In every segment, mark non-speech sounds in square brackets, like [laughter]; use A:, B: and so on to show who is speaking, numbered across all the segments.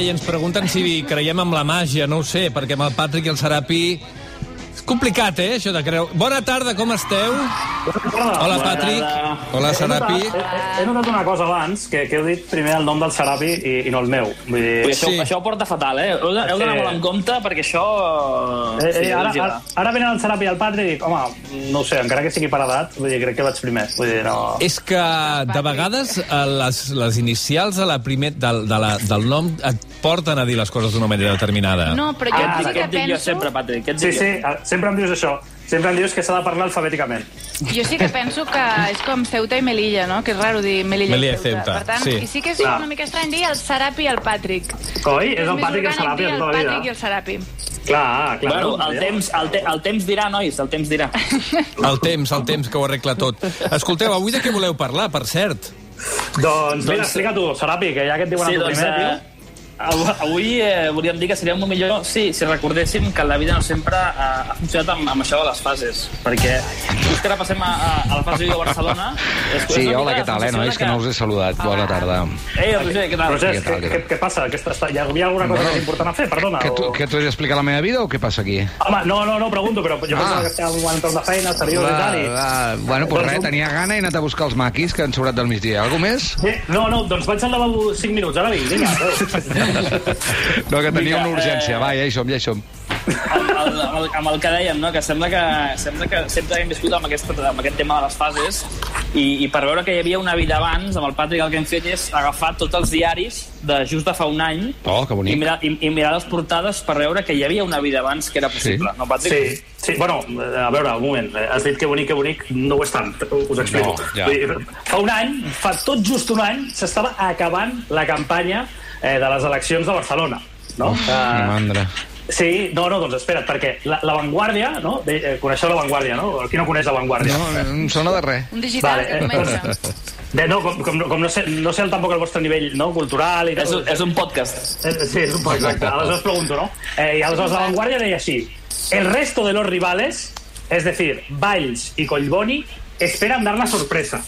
A: i ens pregunten si creiem amb la màgia, no ho sé, perquè amb el Patrick i el Serapi... És complicat, eh, això de creu. Bona tarda, com esteu? Hola,
B: Bona
A: Patrick.
B: tarda.
A: Hola,
B: He- he notat-
A: Serapi.
B: He, he, he notat una cosa abans, que, que heu dit primer el nom del Serapi i, i no el meu. Vull dir...
C: Vull dir, això,
A: Sí.
C: sí. això ho porta fatal, eh? Heu de- heu d'anar
B: Sí.
C: molt en compte perquè això...
B: Eh, eh,
C: sí,
B: ara,
C: sí,
B: ara, ara venen el Serapi i el Patri i dic, home, no ho sé, encara que sigui per edat, vull dir, crec que vaig primer. Vull dir, no...
A: És que de vegades eh, les, les inicials de la primer, de, de la, del nom et porten a dir les coses d'una manera determinada.
D: No, però jo
C: Aquest,
B: Ah,
C: dic-
D: sí que
C: aquest dic jo
D: penso...
C: sempre, Patrick. Aquest
B: Sí,
C: dic
B: sí, eh, sempre em dius això. Sempre em dius que s'ha de parlar alfabèticament.
D: Jo sí que penso que és com Ceuta i Melilla, no? Que és raro dir Melilla,
A: Melilla i
D: i Ceuta.
A: Ceuta,
D: Per tant,
A: sí.
D: I sí que és
B: Clar.
D: una mica estrany dir el Serapi i el Patrick.
B: Coi, és el
D: més
B: Patri i el
D: orgànic
B: Serapi
D: dir
B: de tota
D: el
B: la
D: Patrick i
B: vida.
D: el Serapi.
B: Clar, clar.
C: Bueno,
B: no?
C: el temps, el, te, el temps dirà, nois, el temps dirà.
A: El temps, el temps que ho arregla tot. Escolteu, avui de què voleu parlar, per cert?
B: Doncs, mira,
C: Doncs-
B: explica tu, Serapi, que ja que et diuen
C: Sí,
B: a tu
C: doncs,
B: primer, tio.
C: eh, av- avui eh, volíem dir que seria molt millor sí, si recordéssim que la vida no sempre eh, ha funcionat amb, amb això de les fases, perquè just que ara passem a, a, a la fase de Barcelona... és- és
E: Sí,
C: una
E: hola,
C: mica
E: què tal, eh,
C: la sensació
E: nois,
C: de
E: que no us he saludat. Bona tarda.
C: Ei, Roger, què Ah. tal?
B: Roger,
E: Què
B: què,
E: tal, què
B: què,
E: tal?
B: què passa? Que està, està, hi havia alguna cosa
E: Bueno,
B: més important a fer? Perdona.
E: Que tu,
B: o-
E: que tu has d'explicar la meva vida o què passa aquí?
B: Home, no, no, no, pregunto, però jo
E: Ah.
B: pensava que estàvem en un entorn de feina, seriós i tal, i...
E: va. Bueno, doncs res, tenia gana i he anat a buscar els maquis que han sobrat del migdia. Algú més?
B: Eh, No, no, doncs vaig al lavabo 5 minuts, ara vinc, vinga.
E: [laughs]
B: adéu.
E: No, que tenia
C: Vinga,
E: una urgència.
C: eh,
E: Va, ja hi som, ja hi som.
C: amb, el, amb, el, amb el que dèiem, no? que sembla que, sembla que sempre hem viscut amb aquest, amb aquest tema de les fases i, i per veure que hi havia una vida abans, amb el Patrick el que hem fet és agafar tots els diaris de just de fa un any
E: Oh, que bonic.
C: i, mirar, i, i mirar les portades per veure que hi havia una vida abans que era possible,
E: Sí.
C: no, Patrick?
B: Sí, sí, bueno, eh, a veure, un moment, eh, has dit que bonic, que bonic, no ho és tant, us explico.
E: No, ja.
B: Vull dir, Fa un any, fa tot just un any, s'estava acabant la campanya eh, de les eleccions de Barcelona. No?
E: Uf,
B: Eh,
E: quina Ah. mandra.
B: sí, no, no, doncs espera't, perquè la, la Vanguardia, no? De, eh, coneixeu la Vanguardia, no? Qui no coneix la Vanguardia?
E: No, no em sona de res.
D: Un [laughs] digital
B: Vale,
D: que
B: eh,
A: [laughs]
D: comença.
B: Bé, no, com, com, com no, sé, no sé el, tampoc el vostre nivell no, cultural i
C: És,
B: tal.
C: un- és un podcast.
B: Eh, Sí, és un poc exacte. Aleshores pregunto, no? Eh, I aleshores la Vanguardia deia així. El resto de los rivales, es decir, Valls i Collboni, esperan dar la sorpresa.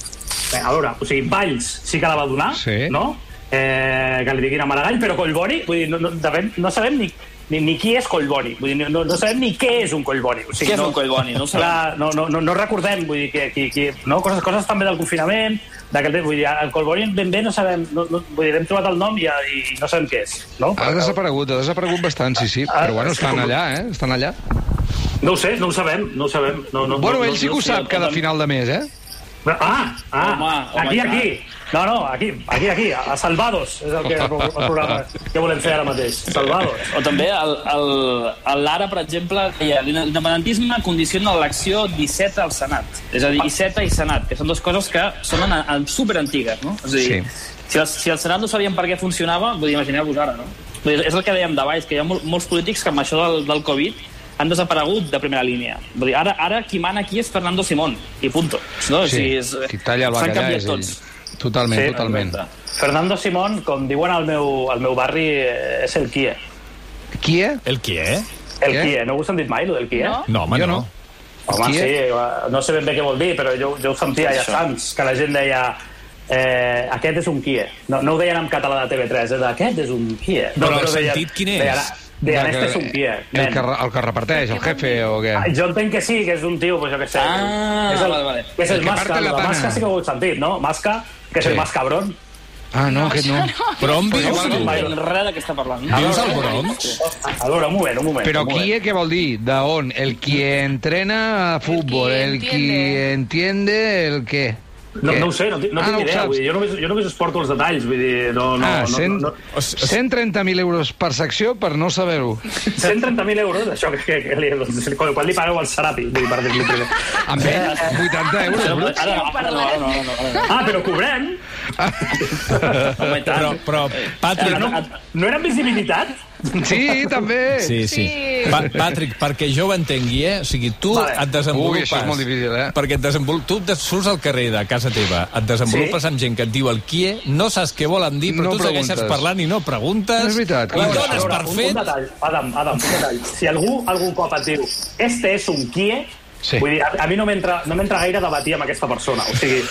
B: Bé, a veure, o sigui, Valls sí que la va donar,
E: Sí.
B: no? Eh, que li diguin a Maragall, però Collboni, vull dir, no, no, de fet, no sabem ni, ni, ni qui és Collboni, vull dir, no- no, no sabem ni què és un Collboni. O sigui,
C: Què és
B: no,
C: un collboni? No ho sabem.
B: Clar, no, no, no, no recordem, vull dir, que, que, que, no? coses, coses també del confinament, d'aquest, vull dir, el Colboni ben bé no sabem, no, no, vull dir, hem trobat el nom i, i no sabem què és, no?
E: Ha desaparegut, ha desaparegut bastant, sí, sí. Però bueno, estan allà, eh? Estan allà.
B: No ho sé, no ho sabem, no ho sabem. No, no,
E: Bueno,
B: no,
E: ell sí que ho sap cada final de mes, eh?
B: no, ah, ah,
C: Home, home,
B: aquí,
C: clar.
B: aquí. No, no, aquí, aquí, aquí, a Salvados és el, que, el programa que volem fer ara mateix. Salvados.
C: O també el, el, el Lara, per exemple, deia l'independentisme condiciona l'elecció 17 al Senat. És a dir, 17 i Senat, que són dues coses que són en, en superantigues, no? És a dir, sí. si, el, si el Senat no sabien per què funcionava, vull dir, imagineu-vos ara, no? Vull dir, és el que dèiem de baix, que hi ha mol, molts polítics que amb això del, del Covid han desaparegut de primera línia. Vull dir, ara, ara qui mana aquí és Fernando Simón, i punto. No? O
E: Sí,
C: sigui, Oh, és,
E: qui talla el
C: s'han
E: bacallà
C: canviat
E: és ell.
C: tots.
E: Totalment,
B: Sí,
E: totalment.
C: exacte.
B: Fernando Simón, com diuen al meu, al meu barri, eh, és el Kie.
E: Qui, eh?
A: El qui, eh?
B: El
E: Què?
B: Kie, no ho heu sentit mai, el del Kie?
D: No?
A: No, home,
E: Jo
A: no.
E: no.
B: Home,
E: Qui
B: sí, va, no sé ben bé què vol dir, però jo, jo ho sentia ja Sants, que la gent deia eh, aquest és un Kie. No, no ho deien en català de TV3, eh, de, aquest és un Kie. No,
A: Però el
B: deien-
A: sentit quin és?
B: Deien, deien
E: Que-
B: este és un Kie.
E: El
B: nen.
E: que, re- el que reparteix, el jefe o què?
B: Ah, Jo entenc que sí, que és un tio, pues jo què sé.
C: Ah,
B: és el,
C: vale, vale.
B: Que és el, el
E: El que
B: Masca,
E: parte la
B: el
E: pana.
B: Masca sí que ho heu sentit, no? Masca, que és
E: Sí.
B: el Mas Cabrón.
E: Ah, no, aquest no.
A: Però on
C: No
A: vius, tu?
C: entenc res de què està parlant.
A: Vius al Bronx?
B: A veure, un moment, un moment.
E: Però
B: un moment.
E: qui eh, què vol dir? De on? El qui
A: Mm.
E: entrena a futbol, el qui
D: entiende.
E: entiende el què?
B: No,
E: Què?
B: no ho sé, no, ti- no
E: Ah,
B: tinc
E: no ho
B: idea.
E: saps.
B: Vull dir, jo, només, jo només us porto els detalls. Vull dir, no, no,
E: Ah,
B: no,
E: cent-
B: no, no.
A: O s- o s-
E: 130.000 euros per secció per no saber-ho.
B: 130.000 euros, això que, que, que li, doncs, quan, quan li pagueu al Serapi, vull dir, per dir-li primer.
E: Amb ell, 80 euros bruts.
C: Ara, no, ara, no, ara, no, ara, no, ara, no.
B: Ah, però cobrem?
C: Home, i tant.
A: Però, però,
B: Però
A: Patrick...
B: Ah, no, no era visibilitat?
E: Sí, també.
A: Sí, sí.
D: Sí.
A: Pa Patrick, perquè jo ho entengui, eh? O sigui, tu
B: Vale.
A: et desenvolupes...
E: Ui, això és molt difícil, eh?
A: Perquè et desenvol... tu et des- surts al carrer de casa teva, et desenvolupes
B: Sí.
A: amb gent que et diu el qui és, no saps què volen dir, però
E: No
A: tu segueixes
E: preguntes.
A: parlant i no preguntes.
E: No és veritat,
A: I
E: clar.
B: A
A: dones
B: veure,
A: per
B: un, un
A: fet...
B: detall, Adam, Adam, un detall. Si algú algun cop et diu este és un qui,
E: Sí.
B: Vull dir, a, a mi no m'entra no m'entra gaire debatir amb aquesta persona. O sigui,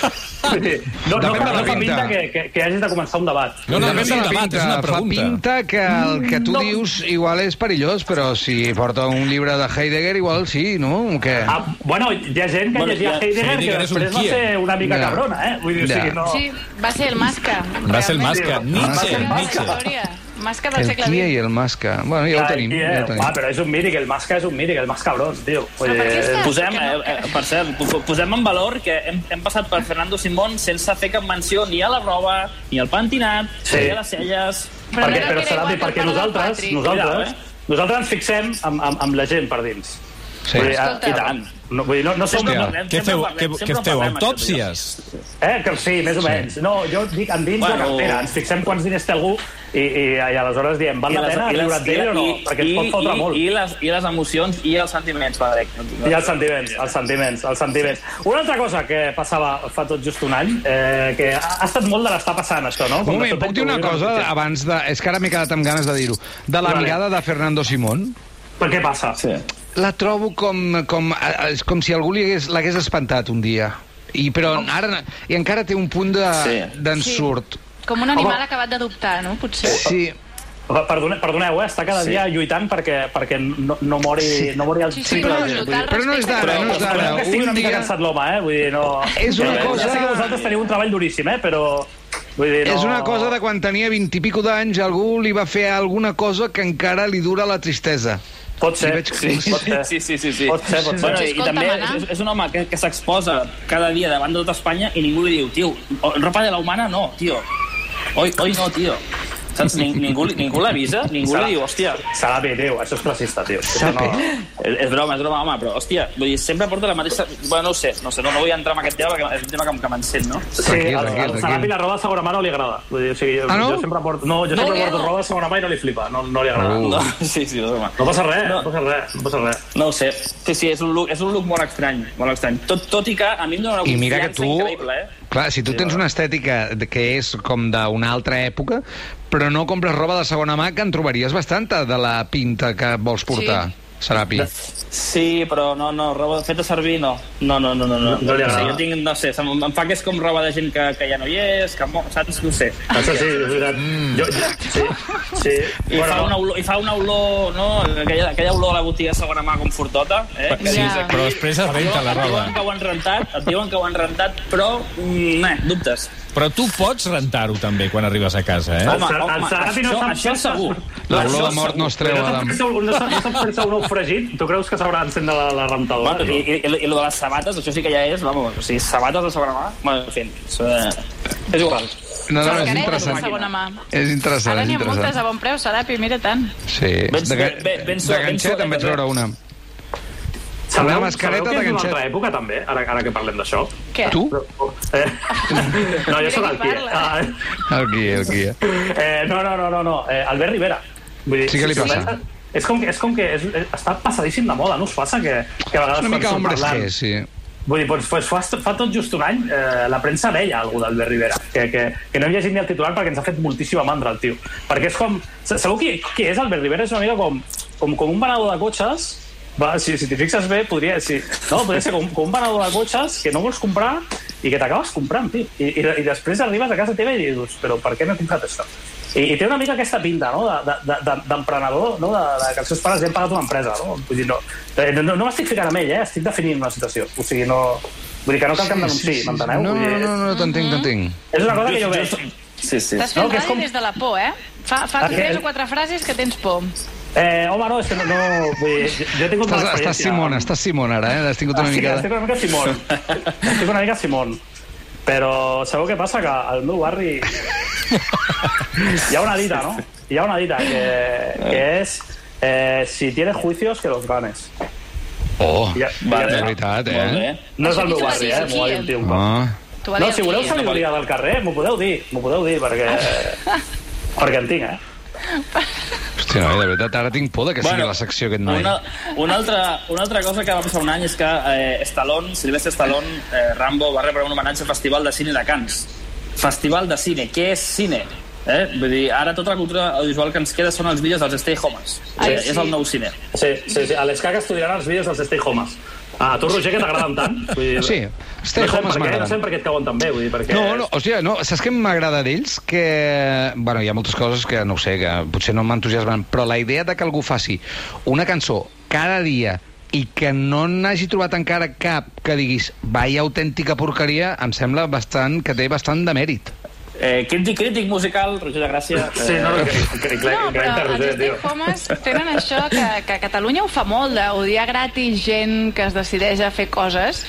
B: vull dir, no, no,
E: Depèn de
B: fa-
E: la
B: no fa
E: pinta.
B: pinta que, que, que hagis de començar un debat.
A: No, no,
E: Depèn
A: no és
E: de
A: un
E: la
A: debat, és una pregunta.
E: Fa pinta que el que tu
B: No.
E: dius igual és perillós, però si porta un llibre de Heidegger igual sí, no? Que...
B: Ah, bueno, hi ha gent que
C: Bueno,
B: bueno, llegia
C: ja,
B: Heidegger
A: Heidegger
B: que
A: és un
B: després va
A: quiet.
B: ser una mica
E: Ja.
B: cabrona, eh? Vull dir, o
E: Ja.
B: sigui, no...
D: Sí, va ser el Masca.
A: Va ser el
D: realment.
A: Masca. Nietzsche,
E: ser el
A: Nietzsche.
D: Història. Masca del
E: El
D: segle
E: Kia i
D: XX.
E: el Masca. Bueno, ja ho tenim,
B: Ai,
E: ja ho
B: Ah,
E: tenim.
B: però és un míric, el masca és un míric, el más cabrón, tio. Vull
D: Però per què
B: dir,
D: està?
C: Posem,
D: Ah, Que no,
C: eh, eh, per cert, po- po- posem en valor que hem, hem passat per Fernando Simón sense fer cap menció ni a la roba, ni al pentinat,
B: Sí.
C: ni a les celles...
D: Però
B: perquè,
D: no era
B: però
D: que era
B: serà
D: igual
B: bé,
D: que
B: perquè
D: el pare del
B: nosaltres,
D: Patrick.
B: nosaltres,
C: Cuidao, eh?
B: nosaltres ens fixem amb, amb, amb la gent per dins.
E: Sí.
B: Vull dir, ah,
D: Escolta.
B: I tant. No, vull dir, no, no som...
E: Hòstia.
C: parlem,
A: Què
C: sempre
A: feu,
C: parlem,
A: què,
C: sempre
A: què feu
C: parlem,
A: autòpsies?
B: Eh, que sí, més o menys. No, jo dic amb dins
C: Bueno.
B: la cartera. Ens fixem quants diners té algú i, i, i aleshores diem, val la pena riure't d'ell o no? Perquè ens pot fotre
C: i,
B: molt.
C: I les, I les emocions i els sentiments, Frederic.
B: I els sentiments, els sentiments, els sentiments. Una altra cosa que passava fa tot just un any, eh, que ha ha estat molt de l'estar passant, això, no?
E: Un
B: Com de
E: moment,
B: sobte
E: puc dir una
B: introduir
E: cosa
B: notícia.
E: abans de... És que ara m'he quedat amb ganes de dir-ho. De la
B: Vale.
E: mirada de Fernando Simón,
B: Per què passa?
C: Sí.
E: la trobo com, com, és com si algú li hagués- l'hagués espantat un dia. I, però ara, i encara té un punt de-
C: Sí.
E: d'ensurt.
D: Com un animal
B: Home.
D: acabat d'adoptar, no? Potser.
E: Sí. sí.
B: Perdoneu, perdoneu eh? està cada
C: Sí.
B: dia lluitant perquè, perquè no, no, mori, no mori el
D: Sí, sí,
B: xicle.
D: no,
B: Vull dir,
D: total.
E: però no és d'ara,
C: respecte.
E: no és d'ara.
B: Perdoneu que estic una
E: Un
B: mica
E: dia...
B: cansat l'home, eh? Vull dir, no...
E: És una
B: Ja
E: cosa-
B: sé que vosaltres teniu un treball duríssim, eh? Però... Vull dir, no...
E: És una cosa de quan tenia 20 i pico d'anys, algú li va fer alguna cosa que encara li dura la tristesa.
B: Pot ser,
E: Li veig-
B: sí, pot ser.
C: Sí, sí, sí, sí.
B: Pot ser, pot ser.
C: Bueno, i
D: Escolta,
C: també
D: Manà.
C: és, és un home que, que s'exposa cada dia davant de tota Espanya i ningú li diu, tio, o- ropa de la humana no, tio. Oi, oi no, tio. Saps? Ning, ningú ningú l'avisa, ningú
B: Serà-
C: li diu, hòstia,
B: Serà bé, tio, això és classista, tio.
E: Sape.
C: És, és broma, és broma, home, però, hòstia, vull dir, sempre porta la mateixa... Bueno, no ho sé, no, ho sé, no, no vull entrar en aquest tema, perquè és un tema que, que m'encén, no?
B: Sí,
E: Tranquil,
B: al- al
E: tranquil,
B: Sarapi
E: tranquil.
B: la roba de segona mà no li agrada. Vull dir, o sigui,
E: Ah, no?
B: Jo sempre porto, no, jo sempre
D: què?
B: porto roba de segona mà i no li flipa, no, no li agrada.
E: Uh.
C: No, [laughs] sí, sí, home.
B: No passa res, no.
C: No.
B: passa res, no passa res.
C: No ho sé. Sí, sí, és un look, és un look molt estrany, molt estrany. Tot, tot i que a mi em dóna una
E: I mira
C: confiança
E: que tu...
C: increïble, eh?
E: Clar, si tu tens una estètica de- que és com d'una altra època, però no compres roba de segona mà, que en trobaries bastanta de la pinta que vols portar, sí. Serapi.
C: Sí, però no, no, roba feta servir no. No, no, no, no. No,
B: No li
C: no sé,
B: agrada.
C: jo tinc, no sé, se'm, em fa que és com roba de gent que, que ja no hi és, que mo, saps? No ho sé.
B: Això sí, és veritat.
E: Mm.
B: Jo, jo, sí, sí.
C: I, bueno, fa una olor, I fa una olor, no? Aquella, aquella olor a la botiga de segona mà confortota, eh?
A: Sí,
D: Ja.
A: però després es renta la
C: Et
A: roba.
C: diuen que ho han rentat, et diuen que ho han rentat, però... Mm, eh, dubtes.
A: Però tu pots rentar-ho també quan arribes a casa, eh?
B: Ser- el Serapi no
C: això,
B: sap-
C: això segur.
E: L'olor
C: Això
E: de mort no es treu,
B: Però no se'n
E: Adam.
B: pensa, no se'n pensa un ou fregit? Tu creus que s'haurà d'encendre la, la rentadora?
C: Bueno, i, i, i, i lo de les sabates, això sí que ja és, vamos, o sigui, sabates de segona mà, bueno, en fi, és, eh, és igual.
E: No, no,
D: Les
E: és
D: caretes de
E: interessant.
D: segona mà.
E: És interessant,
D: Ara
E: és
D: n'hi ha moltes a
E: interessant.
D: bon preu, Serapi, mira tant.
E: Sí,
C: Ben-
E: de, ga-
C: ben- ben- ben
E: de
C: suave, ben
E: ganxet
C: suave,
E: en vaig
C: ben-
E: veure una.
B: Sabeu-
E: Una mascareta
B: sabeu que
E: de
B: és d'una
E: ganxet.
B: altra època, també, ara, ara que parlem d'això?
D: Què?
E: Tu?
B: Eh? No, jo
D: Mira
B: sóc
D: qui
B: el Kia.
D: parla.
B: Ah,
E: El Kia, el Kia.
B: eh, no, no, no, no, no. Eh, Albert Rivera. Vull dir,
E: Sí, què li
B: si ho
E: passa?
B: penses, És com que, és com que és, eh, està passadíssim de moda, no us passa que, que a vegades...
E: Una
B: quan
E: mica
B: surt
E: hombres
B: parlant-
E: que, sí.
B: Vull dir, doncs, doncs fa, fa tot just un any eh, la premsa deia alguna d'Albert Rivera, que, que, que no hem llegit ni el titular perquè ens ha fet moltíssima mandra el tio. Perquè és com... se- Sabeu qui, qui és Albert Rivera? És una mica com, com, com un venedor de cotxes va, si, si t'hi fixes bé, podria, si, no, podria ser com, com un venedor de cotxes que no vols comprar i que t'acabes comprant, tio. I, i, I després arribes a casa teva i dius, però per què m'he comprat això? I, I té una mica aquesta pinta, no?, de- de- de- d'emprenedor, no?, de, de, que els seus pares li han pagat una empresa, no? Vull dir, no, eh, no, no, no m'estic ficant amb ell, eh? Estic definint una situació. O sigui, no... Vull dir que no cal que em denunciï, m'enteneu?
E: No,
B: Vull
E: no,
B: dir,
E: no, no t'entenc, t'entenc.
B: És una cosa que jo veig.
C: Sí, sí.
D: Estàs fent
B: No, que és
D: ràdio
B: com-
D: des de la por, eh? Fa, fa
B: Aquest-
D: tres o quatre frases que tens por.
B: Eh, home, no, és que no... no vull dir, jo, jo he tingut
E: Estàs,
B: mala experiència. Ah,
E: estàs Simon, estàs Simon ara, eh? Has tingut una
B: estic,
E: mica...
B: estic
E: de-
B: una mica Simón. estic una mica Simón. Però sabeu què passa? Que al meu barri hi ha una dita, no? Hi ha una dita que, que és... Eh, si tienes juicios, que los ganes.
E: Oh,
B: Ja,
E: de
B: ja,
E: veritat,
C: Molt bé.
E: eh?
B: no és el meu
D: Això
B: barri, eh? M'ho va dir un tio un cop.
E: Oh.
D: Tu va
B: No,
D: dir
B: si
D: el
B: voleu
D: Quim.
B: sabidoria del carrer, m'ho podeu dir, m'ho podeu dir, perquè...
D: [laughs]
B: perquè en tinc, eh?
E: Hòstia, no, de veritat, ara tinc por de que sigui
C: Bueno,
E: la secció aquest noi.
C: Una, una, altra, una altra cosa que va passar un any és que eh, Stallone, Sylvester Stallone, eh, Rambo, va rebre un homenatge al Festival de Cine de Cants. Festival de cine. Què és cine? Eh? Vull dir, ara tota la cultura audiovisual que ens queda són els vídeos dels Stay Homes.
D: Ai,
C: eh,
D: sí.
C: És el nou cine.
B: Sí, sí, sí. A les caques estudiaran els vídeos dels Stay Homes. Ah, tu, Roger, que t'agraden tant. Vull dir,
E: Sí,
B: no sé per
E: Stay Home es
B: què,
E: m'agraden.
B: No sé per què et cauen tan bé, vull dir, perquè...
E: No, no, o sigui, no, saps què m'agrada d'ells? Que, bueno, hi ha moltes coses que no ho sé, que potser no m'entusiasmen, però la idea de que algú faci una cançó cada dia i que no n'hagi trobat encara cap que diguis vaya autèntica porqueria, em sembla bastant que té bastant de mèrit.
C: Eh, crític, crític musical, Roger de Gràcia. Eh,
B: Sí, no, no, que, que, que,
D: No,
B: que,
D: però els
B: Roger, tio.
D: Stay Homes tenen això que, que a Catalunya ho fa molt, d'odiar gratis gent que es decideix a fer coses,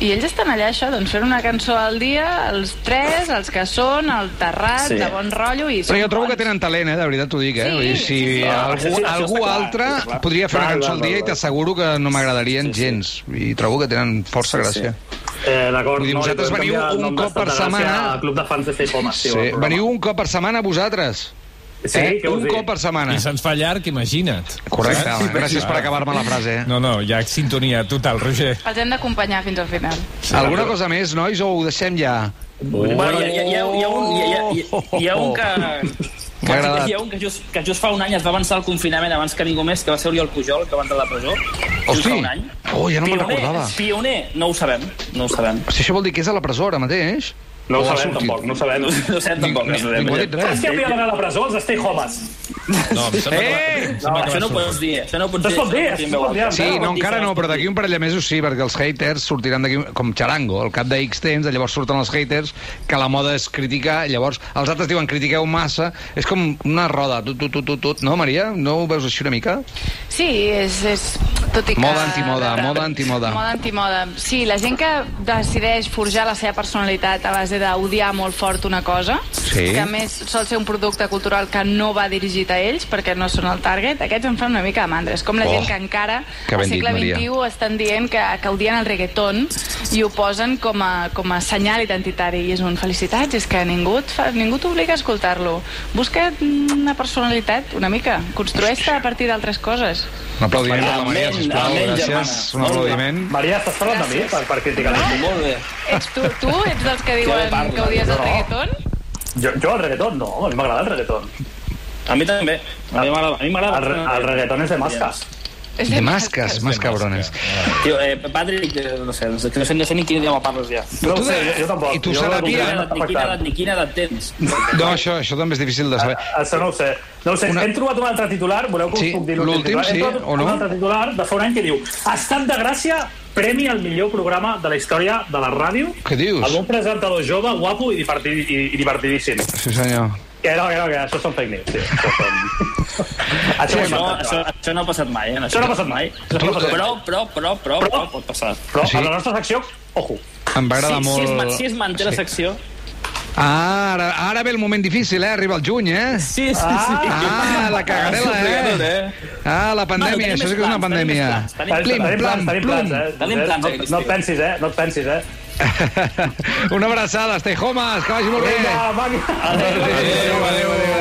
D: i ells estan allà, això, doncs fent una cançó al dia, els tres, els que són, el terrat,
C: Sí.
D: de bon rotllo... I
E: Però
D: són
E: jo trobo
D: bons.
E: que tenen talent, eh? de veritat t'ho dic. Eh?
D: Sí,
E: Vull dir,
D: sí,
E: si
D: sí.
E: algú,
C: Ah, sí, sí,
E: algú
C: això està
E: altre
C: clar, clar.
E: podria fer una
C: Val,
E: cançó al
C: val,
E: dia
C: val,
E: i
C: val.
E: t'asseguro que no
C: Sí,
E: m'agradarien
C: sí.
E: gens. I trobo que tenen força gràcia.
B: Eh, D'acord,
E: Vull dir,
B: no, li
E: vosaltres
B: podem
E: veniu
B: canviar el
E: un
B: nom de
E: cop per
B: Santa Gràcia
E: setmana.
B: a Club de fans de Stay Home.
E: Sí, veniu un cop per setmana vosaltres.
B: Sí,
E: eh?
B: què vols
E: Un
B: dir?
E: cop per setmana.
A: I se'ns fa llarg, imagina't.
E: Correcte,
A: Saps?
E: home. gràcies per acabar-me la frase. eh?
A: No, no, hi ha sintonia total, Roger.
D: Els hem d'acompanyar fins al final.
E: Alguna cosa més, nois, o ho deixem ja?
C: Bueno, hi ha, hi, ha, hi, ha un, hi, ha, hi, ha, hi ha un que...
E: Oh. M'ha agradat.
C: Hi ha un que just, que just fa un any es va avançar al confinament abans que ningú més, que va ser Oriol Pujol, que va entrar a la presó. Just
E: Hosti,
C: fa un any.
E: oh, ja no me'n
C: Pioner,
E: recordava.
C: Pioner, no ho sabem, no ho sabem.
E: Si això vol dir que és a la presó ara mateix?
B: No
E: O
B: ho
E: ha
B: sabem,
E: sortit?
B: tampoc, no ho sabem.
C: No, no sé tampoc. No sabem,
E: Ningú ha dit
B: Saps
E: res.
B: que hauria d'anar a la presó els Stay Homes?
A: No, em sembla que-
E: Eh!
A: em sembla que
C: No, això
A: va
C: no ho
A: sortir.
C: pots dir, eh. això no ho pots
B: No
C: dir.
B: es pot dir,
C: això
B: es pot dir.
C: no ho pots dir.
E: Sí,
B: Encara
E: no,
B: no,
E: encara no, però d'aquí un parell de mesos sí, perquè els haters sortiran d'aquí com xarango. Al cap de X temps, llavors surten els haters, que la moda és criticar, llavors els altres diuen critiqueu massa. És com una roda, tot, tot, tot, tot, tot. No, Maria? No ho veus així una mica?
D: Sí, és, és tot i que...
E: Moda antimoda, moda antimoda.
D: Moda antimoda. Sí, la gent que decideix forjar la seva personalitat a base d'odiar molt fort una cosa,
E: Sí.
D: que a més sol ser un producte cultural que no va dirigit a ells perquè no són el target, aquests em fan una mica de mandra. És com la
E: Oh,
D: gent que encara
E: que ben
D: al segle
E: dit, Maria.
D: XXI estan dient que, que odien el reggaeton i ho posen com a, com a senyal identitari. I és un felicitats, és que ningú et fa- ningú t'obliga a escoltar-lo. Busca't una personalitat una mica, construeix-te a partir d'altres coses.
E: Un aplaudiment per la
C: Amén,
E: Maria, sisplau.
C: amén,
E: Gràcies. Un
C: germana.
E: aplaudiment.
B: Maria, estàs parlant de mi per, per criticar-me?
C: Molt bé.
D: Ets tu, tu ets dels que
C: Ja
D: diuen
C: parla,
D: que odies el
B: no.
D: reggaeton?
B: Jo, jo el reggaeton, no, a mi m'agrada el reggaeton.
C: A mi també. A mi m'agrada. A mi
B: El,
C: m'agrada.
B: re- el reggaeton és de masques.
D: És
E: De masques,
A: De
E: más cabrones.
C: Tio, eh, Patrick, eh, no sé, no sé, no sé, no sé ni quin idioma parles ja.
B: No
E: Tu
B: ho sé,
E: de-
B: jo, jo tampoc.
E: i tu,
B: jo,
E: Sarapia?
C: Ni quina
B: no,
C: edat- ni quina edat- ni quina edat tens.
E: No, això, això també és difícil de saber.
B: Això no ho sé. No ho sé.
E: Una-
B: Una... Hem trobat un altre titular, voleu que
E: Sí,
B: us puc dir l'últim
E: l'últim,
B: titular? Hem
E: sí,
B: trobat
E: o no?
B: Un altre titular de fa un any que diu Estat de Gràcia, premi al millor programa de la història de la ràdio.
E: Què dius?
B: Amb un presentador jove, guapo i, divertid, i, i divertidíssim.
E: Sí, senyor.
B: Que no, que no, que això són fake news. Sí, això, són... això, ho he
C: Això,
B: inventat,
C: això,
B: clar.
C: això no ha passat mai, eh?
B: Això no ha passat mai. Això no ha passat mai.
C: Però, però, però, però, però pot passar.
B: Però
E: Sí.
B: a la nostra secció, ojo.
E: Em va agradar
C: Si, si, es,
E: molt...
C: ma- si es manté la secció...
E: Ah, ara, ara ve el moment difícil, eh? Arriba el juny, eh?
C: Sí, sí, sí.
E: Ah, la cagarela, eh? Ah, la pandèmia,
C: Bueno, tenim
E: això sí que és una
C: més plans, tenim
E: pandèmia.
C: més plans, tenim
B: Tenim,
E: Plim,
B: tenim
E: plam,
B: plans, tenim plans, eh?
C: Tenim plans,
B: no,
C: aquest
B: no et
C: estiu.
B: pensis, eh? No et pensis, eh?
E: Una abraçada, stay homes, que vagi molt bé.
B: Vinga, va,
C: Eh,
E: Adéu, adéu, adéu.